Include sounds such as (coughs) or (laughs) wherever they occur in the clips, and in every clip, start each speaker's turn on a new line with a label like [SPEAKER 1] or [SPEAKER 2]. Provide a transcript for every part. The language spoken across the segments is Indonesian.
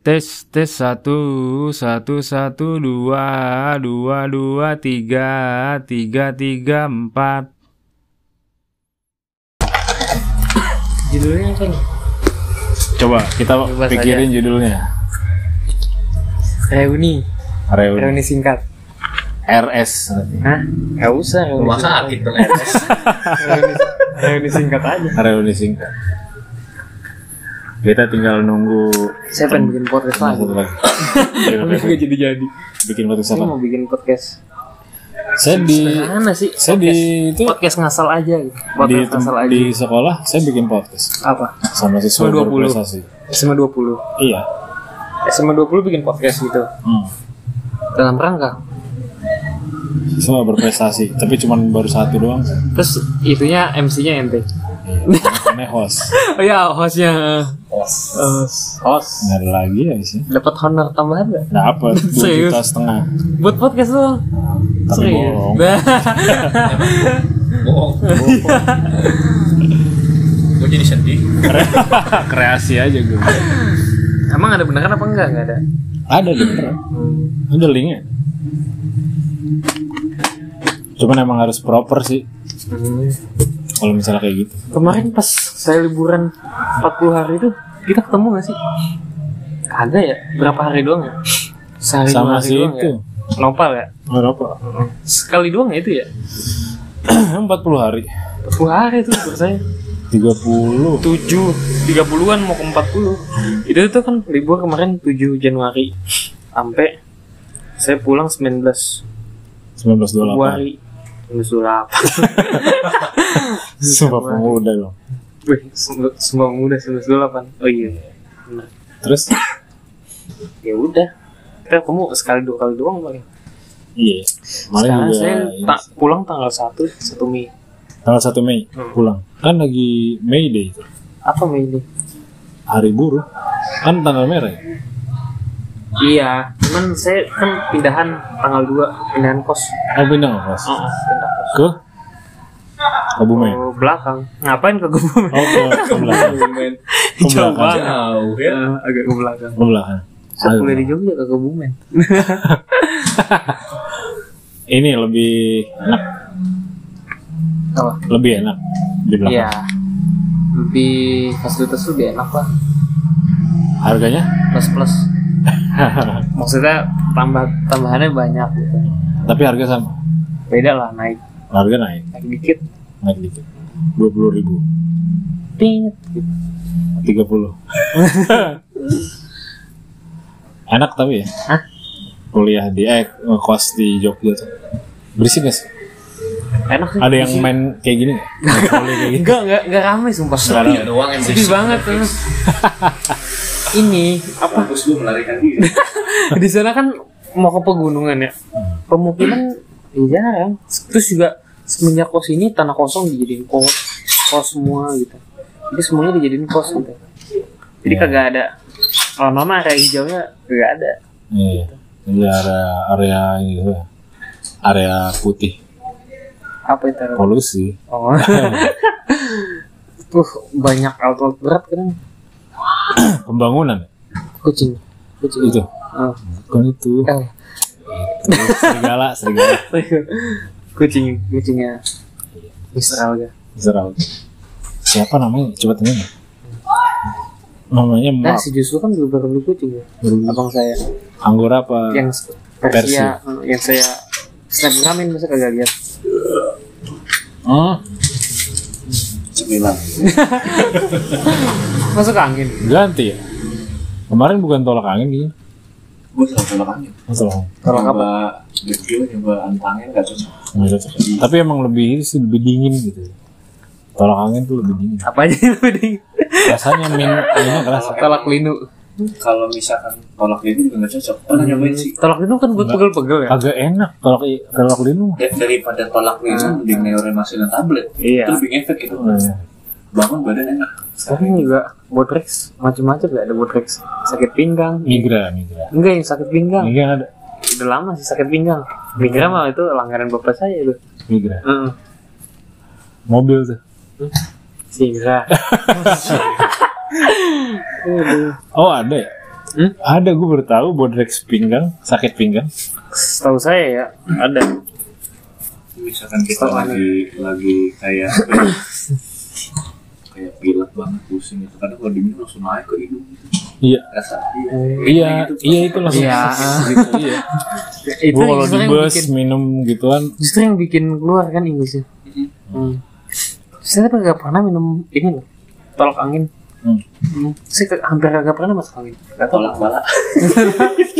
[SPEAKER 1] Tes tes satu satu satu dua dua dua tiga tiga tiga empat.
[SPEAKER 2] Judulnya apa nih?
[SPEAKER 3] Coba kita
[SPEAKER 2] Coba
[SPEAKER 3] pikirin judulnya.
[SPEAKER 2] Reuni.
[SPEAKER 3] Reuni
[SPEAKER 2] Reuni singkat.
[SPEAKER 3] RS.
[SPEAKER 2] Hah? Gak usah reuni.
[SPEAKER 4] Rumah sakit dong RS.
[SPEAKER 2] Reuni, reuni singkat
[SPEAKER 3] (laughs)
[SPEAKER 2] aja.
[SPEAKER 3] Reuni singkat. Kita tinggal nunggu
[SPEAKER 2] Saya pengen bikin podcast lagi.
[SPEAKER 3] nunggu lagi.
[SPEAKER 2] (laughs) Ini juga jadi jadi.
[SPEAKER 3] Bikin podcast
[SPEAKER 2] Saya
[SPEAKER 3] apa?
[SPEAKER 2] mau bikin podcast.
[SPEAKER 3] Saya di
[SPEAKER 2] Mana sih?
[SPEAKER 3] saya di itu
[SPEAKER 2] Podcast ngasal aja. Gitu.
[SPEAKER 3] di,
[SPEAKER 2] Podcast ngasal aja.
[SPEAKER 3] di sekolah saya bikin podcast
[SPEAKER 2] Apa?
[SPEAKER 3] sama siswa
[SPEAKER 2] Sama 20.
[SPEAKER 3] berprestasi.
[SPEAKER 2] SMA 20.
[SPEAKER 3] Iya.
[SPEAKER 2] SMA 20 bikin podcast gitu.
[SPEAKER 3] Hmm.
[SPEAKER 2] Dalam rangka.
[SPEAKER 3] Semua berprestasi, tapi cuman baru satu doang.
[SPEAKER 2] Terus itunya MC-nya ente.
[SPEAKER 3] Ini host.
[SPEAKER 2] (laughs) Oh ya, hostnya. Eh,
[SPEAKER 3] Nggak ada lagi ya sih.
[SPEAKER 2] Dapat honor tambahan nggak?
[SPEAKER 3] Dapat dua
[SPEAKER 2] Serius?
[SPEAKER 3] juta
[SPEAKER 2] (laughs)
[SPEAKER 3] setengah.
[SPEAKER 2] Buat podcast ya. lo.
[SPEAKER 3] Tapi
[SPEAKER 2] Serius.
[SPEAKER 3] bohong.
[SPEAKER 4] Bohong. Gue jadi sedih.
[SPEAKER 3] Kreasi aja gue.
[SPEAKER 2] (laughs) Emang ada beneran apa enggak? Enggak ada.
[SPEAKER 3] Ada deh beneran. Ada linknya. Cuman emang harus proper sih. Kalau misalnya kayak gitu.
[SPEAKER 2] Kemarin pas saya liburan 40 hari itu kita ketemu gak sih? Ada ya? Berapa hari doang ya? Sehari dua
[SPEAKER 3] Sama
[SPEAKER 2] hari
[SPEAKER 3] si
[SPEAKER 2] doang
[SPEAKER 3] itu.
[SPEAKER 2] ya? Nopal ya?
[SPEAKER 3] (clears throat) Berapa?
[SPEAKER 2] Sekali doang ya itu ya?
[SPEAKER 3] 40 hari.
[SPEAKER 2] 40 hari itu libur saya
[SPEAKER 3] 30.
[SPEAKER 2] 7, 30-an mau ke 40 Itu tuh kan libur kemarin 7 Januari Sampai saya pulang 19
[SPEAKER 3] 1928.
[SPEAKER 2] Februari 1928
[SPEAKER 3] Sumpah pemuda dong.
[SPEAKER 2] (laughs) Wih, semb- semua muda 1928 Oh iya bener.
[SPEAKER 3] (clears throat) Terus?
[SPEAKER 2] Ya udah Kita kamu sekali dua kali doang paling
[SPEAKER 3] Iya. Kemarin
[SPEAKER 2] Sekarang
[SPEAKER 3] juga ya.
[SPEAKER 2] saya
[SPEAKER 3] ini
[SPEAKER 2] tak pulang tanggal 1 1 Mei.
[SPEAKER 3] tanggal 1 Mei
[SPEAKER 2] Hmm.
[SPEAKER 3] pulang. Kan lagi May Day itu.
[SPEAKER 2] Apa Mei ini?
[SPEAKER 3] Hari buruh. Kan tanggal merah. ya?
[SPEAKER 2] Iya, cuman saya kan pindahan tanggal 2 pindahan kos.
[SPEAKER 3] Oh pindah nggak kelas?
[SPEAKER 2] Oh, pindah kos.
[SPEAKER 3] Ke? Kebumen.
[SPEAKER 2] Ke belakang. Ngapain ke Kebumen?
[SPEAKER 3] Oh, ke, ke belakang. ke
[SPEAKER 2] (laughs) Jauh banget.
[SPEAKER 3] belakang.
[SPEAKER 4] Jauh
[SPEAKER 2] Ya,
[SPEAKER 4] ya.
[SPEAKER 2] agak ke belakang.
[SPEAKER 3] Ke belakang.
[SPEAKER 2] Saya
[SPEAKER 3] Aduh.
[SPEAKER 2] kuliah di Jogja ke Kebumen.
[SPEAKER 3] Ini lebih enak,
[SPEAKER 2] Apa?
[SPEAKER 3] lebih enak di belakang.
[SPEAKER 2] Iya. Lebih fasilitas lebih enak lah.
[SPEAKER 3] Harganya?
[SPEAKER 2] Plus
[SPEAKER 3] (laughs)
[SPEAKER 2] plus. Maksudnya tambah tambahannya banyak gitu.
[SPEAKER 3] Tapi harga sama.
[SPEAKER 2] Beda lah naik
[SPEAKER 3] Harga naik,
[SPEAKER 2] naik dikit.
[SPEAKER 3] naik dikit. Dua puluh ribu,
[SPEAKER 2] Tit. gitu.
[SPEAKER 3] tiga puluh. enak tapi ya.
[SPEAKER 2] Hah?
[SPEAKER 3] Kuliah di eh kos di Jogja tuh. Berisik gak sih?
[SPEAKER 2] Enak sih.
[SPEAKER 3] Ada yang main kayak gini nggak? Patroli kayak gini.
[SPEAKER 2] Enggak, enggak, enggak ramai sumpah.
[SPEAKER 4] Dia doang yang
[SPEAKER 2] sedih banget terus ini apa
[SPEAKER 4] Kampus gue melarikan diri.
[SPEAKER 2] (laughs) di sana kan mau ke pegunungan ya pemukiman ya jarang terus juga semenjak kos ini tanah kosong dijadiin kos kos semua gitu jadi semuanya dijadiin kos gitu jadi
[SPEAKER 3] Iya.
[SPEAKER 2] kagak ada kalau mama area hijaunya kagak ada
[SPEAKER 3] (laughs) Iya. Ini area area ini gitu ya. Area putih.
[SPEAKER 2] apa itu
[SPEAKER 3] Polusi.
[SPEAKER 2] (laughs) oh tuh banyak alat-alat berat kan
[SPEAKER 3] Pembangunan.
[SPEAKER 2] kucing kucing
[SPEAKER 3] Itu.
[SPEAKER 2] Oh.
[SPEAKER 3] Bukan itu.
[SPEAKER 2] Eh,
[SPEAKER 3] Itu serigala, serigala.
[SPEAKER 2] (laughs) kucing kucingnya Israel ya
[SPEAKER 3] Israel. Siapa namanya? Coba tanya. deh. Namanya
[SPEAKER 2] Nah,
[SPEAKER 3] Mak.
[SPEAKER 2] si Joshua kan juga baru beli kucing ya. Abang saya
[SPEAKER 3] Anggora apa?
[SPEAKER 2] yang
[SPEAKER 3] Persia.
[SPEAKER 2] Persia, eh, yang saya snapgramin masa kagak lihat.
[SPEAKER 3] Hmm?
[SPEAKER 4] Cemilan.
[SPEAKER 2] Masuk ke angin.
[SPEAKER 3] Ganti ya. Kemarin bukan tolak angin gitu.
[SPEAKER 4] Gue selalu tolak angin.
[SPEAKER 3] Masalah.
[SPEAKER 2] Tolak apa?
[SPEAKER 4] Nyoba dekil, nyoba antangin gak cocok.
[SPEAKER 3] Nggak cocok. Tapi emang lebih sih lebih dingin gitu. Tolak angin tuh lebih dingin.
[SPEAKER 2] Apa aja yang penting?
[SPEAKER 3] Rasanya min minyak kerasa.
[SPEAKER 2] (laughs) Tolak linu.
[SPEAKER 4] Kalau misalkan tolak ini juga gak cocok. Pernah
[SPEAKER 2] Hmm.
[SPEAKER 4] nyobain sih.
[SPEAKER 2] Tolak linu kan buat pegel-pegel ya.
[SPEAKER 3] Agak enak tolak tolak linu.
[SPEAKER 4] Ya, daripada tolak linu di neuromasin tablet
[SPEAKER 2] Hmm. Iya.
[SPEAKER 4] itu lebih efek gitu
[SPEAKER 3] Eh,
[SPEAKER 4] bangun badan enak
[SPEAKER 2] Sekarang juga botrex macam-macam ya ada botrex sakit pinggang.
[SPEAKER 3] Migra, migra.
[SPEAKER 2] Enggak yang sakit pinggang.
[SPEAKER 3] Migra ada.
[SPEAKER 2] Udah lama sih sakit pinggang. Migra mah itu langganan bapak saya itu.
[SPEAKER 3] Migra.
[SPEAKER 2] Heeh.
[SPEAKER 3] Mobil tuh.
[SPEAKER 2] (laughs) Si Migra. Aduh.
[SPEAKER 3] Oh ada ya?
[SPEAKER 2] Hmm?
[SPEAKER 3] Ada gue baru tahu bodrex pinggang, sakit pinggang.
[SPEAKER 2] Setahu saya ya ada.
[SPEAKER 4] misalkan kita lagi lagi kayak kayak pilek banget pusing gitu kadang kalau diminum langsung naik ke hidung gitu.
[SPEAKER 3] Iya.
[SPEAKER 4] rasa
[SPEAKER 3] Iya,
[SPEAKER 4] gitu.
[SPEAKER 3] iya itu langsung.
[SPEAKER 2] Iya.
[SPEAKER 3] gitu, iya.
[SPEAKER 2] (laughs) Itu
[SPEAKER 3] Gue kalau
[SPEAKER 2] justru
[SPEAKER 3] di
[SPEAKER 2] yang
[SPEAKER 3] bus
[SPEAKER 2] bikin,
[SPEAKER 3] minum gituan,
[SPEAKER 2] justru yang bikin keluar kan Inggrisnya. Hmm. Saya tapi nggak pernah minum ini loh, tolak angin.
[SPEAKER 3] Hmm.
[SPEAKER 2] Hmm. Saya ke- hampir nggak pernah masuk angin. Nggak tahu.
[SPEAKER 4] tolak balak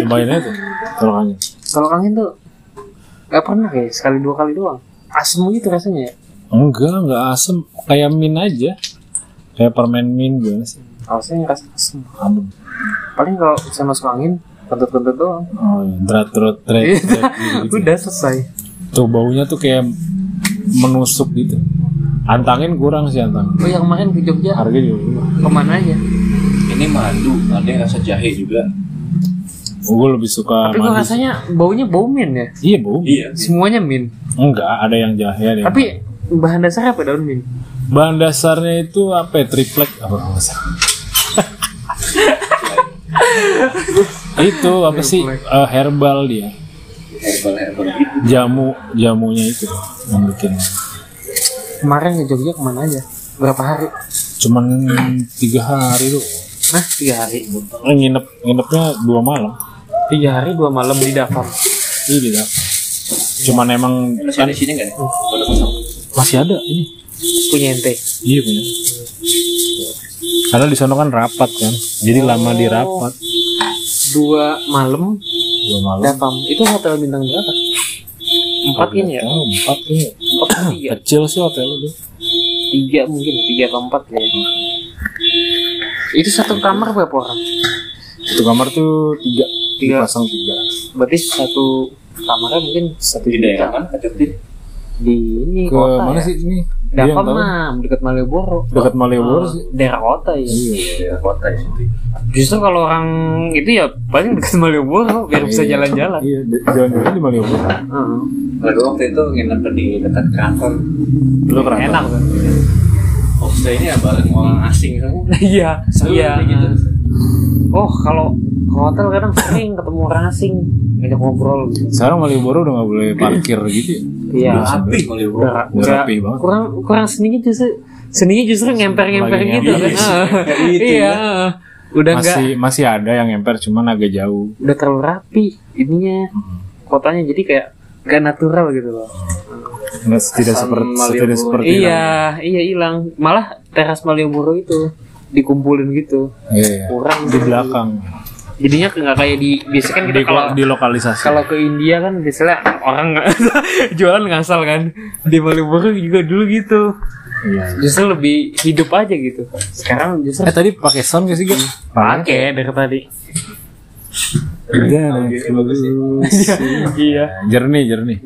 [SPEAKER 3] cobain aja tuh tolongannya.
[SPEAKER 2] Tolak angin tuh nggak pernah kayak sekali dua kali doang. Asem gitu rasanya ya.
[SPEAKER 3] Enggak, enggak asem, kayak min aja. Kayak permen min gimana sih?
[SPEAKER 2] Kalau saya ngerasa asem.
[SPEAKER 3] Aduh.
[SPEAKER 2] Paling kalau saya masuk angin, kentut-kentut doang.
[SPEAKER 3] Oh, iya, drat drat drat.
[SPEAKER 2] Iya.
[SPEAKER 3] drat, gitu.
[SPEAKER 2] Udah selesai.
[SPEAKER 3] Tuh baunya tuh kayak menusuk gitu. Antangin kurang sih antangin.
[SPEAKER 2] Oh yang kemarin ke Jogja
[SPEAKER 3] Harga juga.
[SPEAKER 2] kemana aja?
[SPEAKER 4] ini madu ada yang rasa jahe juga
[SPEAKER 3] Gue Oh, lebih suka
[SPEAKER 2] Tapi kok
[SPEAKER 3] madu.
[SPEAKER 2] rasanya baunya bau min ya?
[SPEAKER 3] Iya bau.
[SPEAKER 4] iya
[SPEAKER 2] Semuanya min.
[SPEAKER 3] Enggak, ada yang jahe ada yang
[SPEAKER 2] Tapi bahan dasarnya apa daun min?
[SPEAKER 3] Bahan dasarnya itu apa ya? Triplek apa nggak salah.
[SPEAKER 2] (laughs)
[SPEAKER 3] itu apa sih Eh, herbal dia
[SPEAKER 4] herbal herbal gitu
[SPEAKER 3] jamu jamunya itu yang bikin
[SPEAKER 2] Kemarin ke Jogja kemana aja? Berapa hari?
[SPEAKER 3] cuman tiga hari tuh
[SPEAKER 2] Nah, tiga hari.
[SPEAKER 3] Eh, nginep nginepnya dua malam
[SPEAKER 2] Tiga hari dua malam di Dafar.
[SPEAKER 3] iya tidak cuman emang
[SPEAKER 4] masih ada di sini nggak
[SPEAKER 2] Hmm.
[SPEAKER 4] ya? Pada kosong.
[SPEAKER 3] masih ada ini
[SPEAKER 2] Punya ente.
[SPEAKER 3] iya punya karena di sana kan rapat kan jadi lama di rapat
[SPEAKER 2] Dua malam
[SPEAKER 3] dua malam
[SPEAKER 2] Dafam. Itu hotel bintang berapa? Empat ini ya? Iya.
[SPEAKER 3] Oh, empat ini
[SPEAKER 2] Empat atau tiga?
[SPEAKER 3] kecil sih hotel itu
[SPEAKER 2] Tiga mungkin. Tiga atau empat ya. Itu satu kamar berapa orang?
[SPEAKER 3] Satu kamar tuh tiga,
[SPEAKER 2] Tiga.
[SPEAKER 3] dipasang tiga.
[SPEAKER 2] Berarti satu kamarnya mungkin
[SPEAKER 3] Satu
[SPEAKER 4] di
[SPEAKER 2] ya.
[SPEAKER 4] daerah mana Kajakti
[SPEAKER 2] di ini
[SPEAKER 3] Ke
[SPEAKER 2] kota
[SPEAKER 3] mana
[SPEAKER 2] ya?
[SPEAKER 3] sih ini? Dia yang
[SPEAKER 2] Dafam
[SPEAKER 3] tahu.
[SPEAKER 2] mah dekat Malioboro.
[SPEAKER 3] Dekat
[SPEAKER 2] Ah,
[SPEAKER 3] Malioboro sih.
[SPEAKER 2] Daerah kota ya.
[SPEAKER 3] Iya,
[SPEAKER 4] daerah kota ya
[SPEAKER 2] Justru kalau orang itu ya paling dekat Malioboro biar bisa
[SPEAKER 3] Iya.
[SPEAKER 2] jalan-jalan.
[SPEAKER 3] Iya, de- jalan-jalan di Malioboro.
[SPEAKER 2] Heeh.
[SPEAKER 4] lalu waktu itu nginep di dekat kantor
[SPEAKER 3] Lu keren.
[SPEAKER 2] Enak kan?
[SPEAKER 4] homestaynya bareng orang asing kan
[SPEAKER 2] (laughs) Iya.
[SPEAKER 4] Seru
[SPEAKER 2] Iya.
[SPEAKER 4] kayak gitu.
[SPEAKER 2] Oh kalau ke hotel kadang sering ketemu orang asing ngajak ngobrol. gitu.
[SPEAKER 3] Sekarang Malioboro udah nggak boleh parkir gitu. ya.
[SPEAKER 2] Iya.
[SPEAKER 4] tapi kalau di
[SPEAKER 2] Udah
[SPEAKER 3] Udah
[SPEAKER 2] udah-
[SPEAKER 3] rapi banget.
[SPEAKER 2] kurang kurang seninya justru seninya justru ngemper-ngemper
[SPEAKER 3] Lagi
[SPEAKER 2] gitu.
[SPEAKER 3] (laughs) ngemper.
[SPEAKER 2] Heeh. Iya. heeh. Udah enggak
[SPEAKER 3] ya. Masih masih ada yang emper cuman agak jauh.
[SPEAKER 2] udah terlalu rapi ininya
[SPEAKER 3] Hmm.
[SPEAKER 2] kotanya jadi kayak gak natural gitu loh.
[SPEAKER 3] Nggak tidak seperti tidak seperti ya?
[SPEAKER 2] iya, iya hilang. Malah teras Malioboro itu dikumpulin gitu.
[SPEAKER 3] lama. Iya, iya.
[SPEAKER 2] Kurang
[SPEAKER 3] Di belakang.
[SPEAKER 2] jadinya ke- nggak kayak di biasanya kan
[SPEAKER 3] Di,
[SPEAKER 2] kita kalau
[SPEAKER 3] di lokalisasi.
[SPEAKER 2] kalau ke India kan biasanya orang nggak- (laughs) jualan ngasal kan di Malioboro juga dulu gitu
[SPEAKER 3] Iya.
[SPEAKER 2] justru lebih hidup aja gitu sekarang justru
[SPEAKER 3] Eh tadi pakai sound gak sih, Gak?
[SPEAKER 2] pakai dari tadi
[SPEAKER 3] Udah, bagus.
[SPEAKER 2] iya
[SPEAKER 3] iya. Jernih, jernih.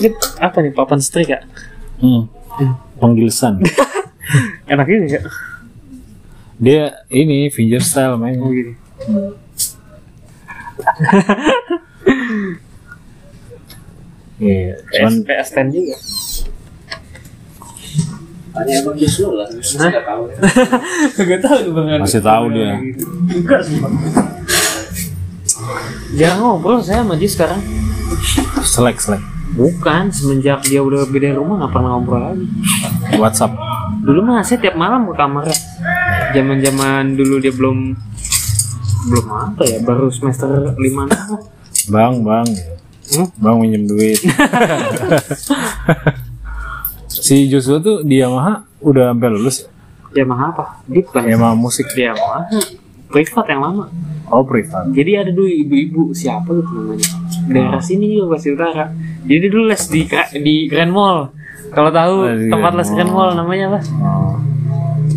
[SPEAKER 2] Ini apa nih papan strik ya
[SPEAKER 3] Hmm. Penggilisan.
[SPEAKER 2] enak juga ya
[SPEAKER 3] Dia ini finger style mainnya.
[SPEAKER 2] Oh, gini
[SPEAKER 3] Iya, cuman
[SPEAKER 2] PS, PS 10 (laughs) juga
[SPEAKER 4] tanya emang dia slow lah saya nggak tahu ya.
[SPEAKER 2] gak tau tuh bang
[SPEAKER 3] masih tahu dia.
[SPEAKER 2] enggak sih bang jarang ngobrol saya sama dia sekarang
[SPEAKER 3] Slack, Slack.
[SPEAKER 2] bukan semenjak dia udah beda rumah nggak pernah ngobrol lagi
[SPEAKER 3] WhatsApp.
[SPEAKER 2] dulu mah saya tiap malam ke kamarnya zaman zaman dulu dia belum belum apa ya baru semester lima enam lah.
[SPEAKER 3] Bang, bang.
[SPEAKER 2] Hmm?
[SPEAKER 3] Bang minjem (laughs) duit. si Joshua tuh di Yamaha udah sampai lulus.
[SPEAKER 2] Yamaha Ya, apa dia bukan
[SPEAKER 3] Yamaha musik.
[SPEAKER 2] dia Yamaha privat yang lama
[SPEAKER 3] Oh, privat.
[SPEAKER 2] jadi ada dulu ibu-ibu siapa gitu namanya daerah sini juga Bekasi Utara jadi dia dulu les di Gra- di Grand Mall kalau tahu
[SPEAKER 3] Oh, di
[SPEAKER 2] tempat
[SPEAKER 3] Grand
[SPEAKER 2] les Grand Mall namanya apa
[SPEAKER 3] Oh.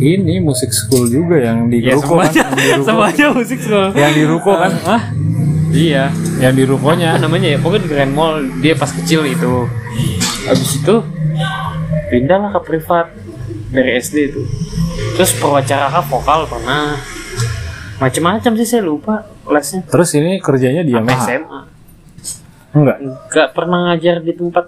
[SPEAKER 3] Ini musik school juga yang di
[SPEAKER 2] ya
[SPEAKER 3] ruko kan?
[SPEAKER 2] semuanya
[SPEAKER 3] Yang di ruko,
[SPEAKER 2] (laughs) semuanya musik school
[SPEAKER 3] yang di ruko kan?
[SPEAKER 2] Eh, Hah? iya
[SPEAKER 3] Yang di rukonya.
[SPEAKER 2] apa namanya ya pokoknya di Grand Mall dia pas kecil itu habis itu pindahlah ke privat dari SD itu terus perwacara vokal pernah macam-macam sih saya lupa lesnya
[SPEAKER 3] Terus ini kerjanya di
[SPEAKER 2] Sampai
[SPEAKER 3] Yamaha.
[SPEAKER 2] SMA
[SPEAKER 3] Enggak.
[SPEAKER 2] nggak pernah ngajar di tempat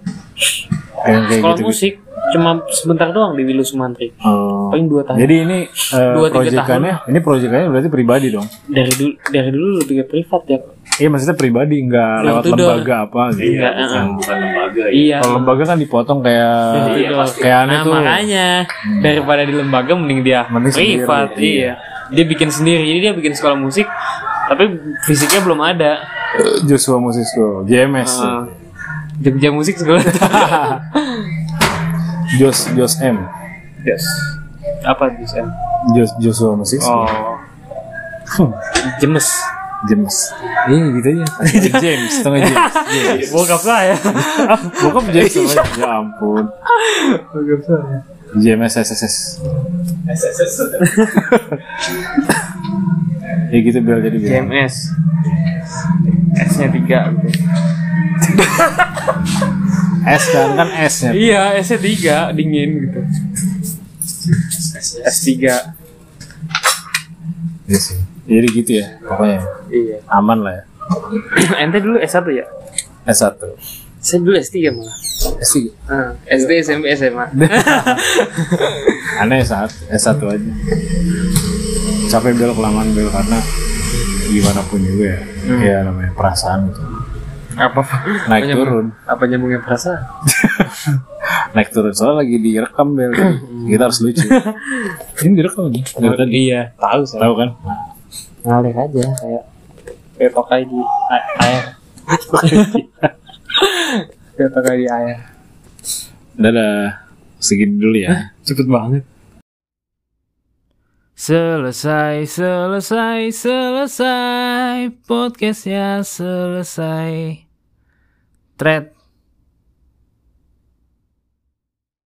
[SPEAKER 3] Yang kayak
[SPEAKER 2] sekolah
[SPEAKER 3] gitu.
[SPEAKER 2] musik cuma sebentar doang di Wilu Sumantri
[SPEAKER 3] Oh.
[SPEAKER 2] paling dua tahun
[SPEAKER 3] Jadi ini eh,
[SPEAKER 2] Dua, tiga
[SPEAKER 3] proyekannya, ini proyekannya berarti pribadi dong.
[SPEAKER 2] dari dulu dari dulu lebih ke privat ya
[SPEAKER 3] Iya maksudnya pribadi nggak
[SPEAKER 2] Yang
[SPEAKER 3] lewat
[SPEAKER 2] Tudor.
[SPEAKER 3] lembaga apa gitu.
[SPEAKER 2] Enggak,
[SPEAKER 4] bukan, bukan lembaga ya.
[SPEAKER 2] iya
[SPEAKER 3] Kalau lembaga kan dipotong kayak
[SPEAKER 2] Iya, pasti.
[SPEAKER 3] kayak aneh
[SPEAKER 2] nah,
[SPEAKER 3] tuh.
[SPEAKER 2] makanya daripada di lembaga Hmm. mending dia
[SPEAKER 3] Mending sendiri,
[SPEAKER 2] privat iya. dia bikin sendiri jadi dia bikin sekolah musik tapi fisiknya belum ada
[SPEAKER 3] Joshua Music School, JMS,
[SPEAKER 2] Nah, Jogja musik sekolah
[SPEAKER 3] Jos Jos M,
[SPEAKER 2] (laughs) yes. apa Gus M?
[SPEAKER 3] Jos Joshua Music School,
[SPEAKER 2] oh jemes
[SPEAKER 3] James. Iya gitu aja. (laughs) James, setengah James. James.
[SPEAKER 2] (laughs) bokap saya
[SPEAKER 3] (laughs) Bokap James namanya. Ya ampun.
[SPEAKER 2] bokap saya
[SPEAKER 3] JMS SSS. (laughs) ya gitu biar jadi biar.
[SPEAKER 2] JMS S nya tiga
[SPEAKER 3] S kan kan S nya.
[SPEAKER 2] iya S nya tiga dingin gitu S 3
[SPEAKER 3] Iya sih. Jadi gitu ya pokoknya
[SPEAKER 2] iya
[SPEAKER 3] aman lah ya.
[SPEAKER 2] (clears throat) ente dulu S 1 ya
[SPEAKER 3] S1.
[SPEAKER 2] saya dulu S 3 malah
[SPEAKER 3] S3.
[SPEAKER 2] Ah, SD SMP (laughs) SMA
[SPEAKER 3] Aneh saat S1 aja. Capek belok lamaan belok karena gimana pun juga ya. Ya namanya perasaan gitu.
[SPEAKER 2] apa
[SPEAKER 3] Naik
[SPEAKER 2] Apanya-
[SPEAKER 3] turun.
[SPEAKER 2] apa nyambungnya perasaan
[SPEAKER 3] Naik turun soalnya lagi direkam (coughs) bel. Kita harus (laughs) lucu. Ini direkam nih. Dari tadi.
[SPEAKER 2] iya tahu saya
[SPEAKER 3] Tahu kan?
[SPEAKER 2] ngalir aja kayak kayak pakai di a- (laughs) air kayak pakai di air
[SPEAKER 3] Dadah. Segini dulu ya.
[SPEAKER 2] cepet banget
[SPEAKER 1] Selesai, selesai, selesai Podcastnya selesai Thread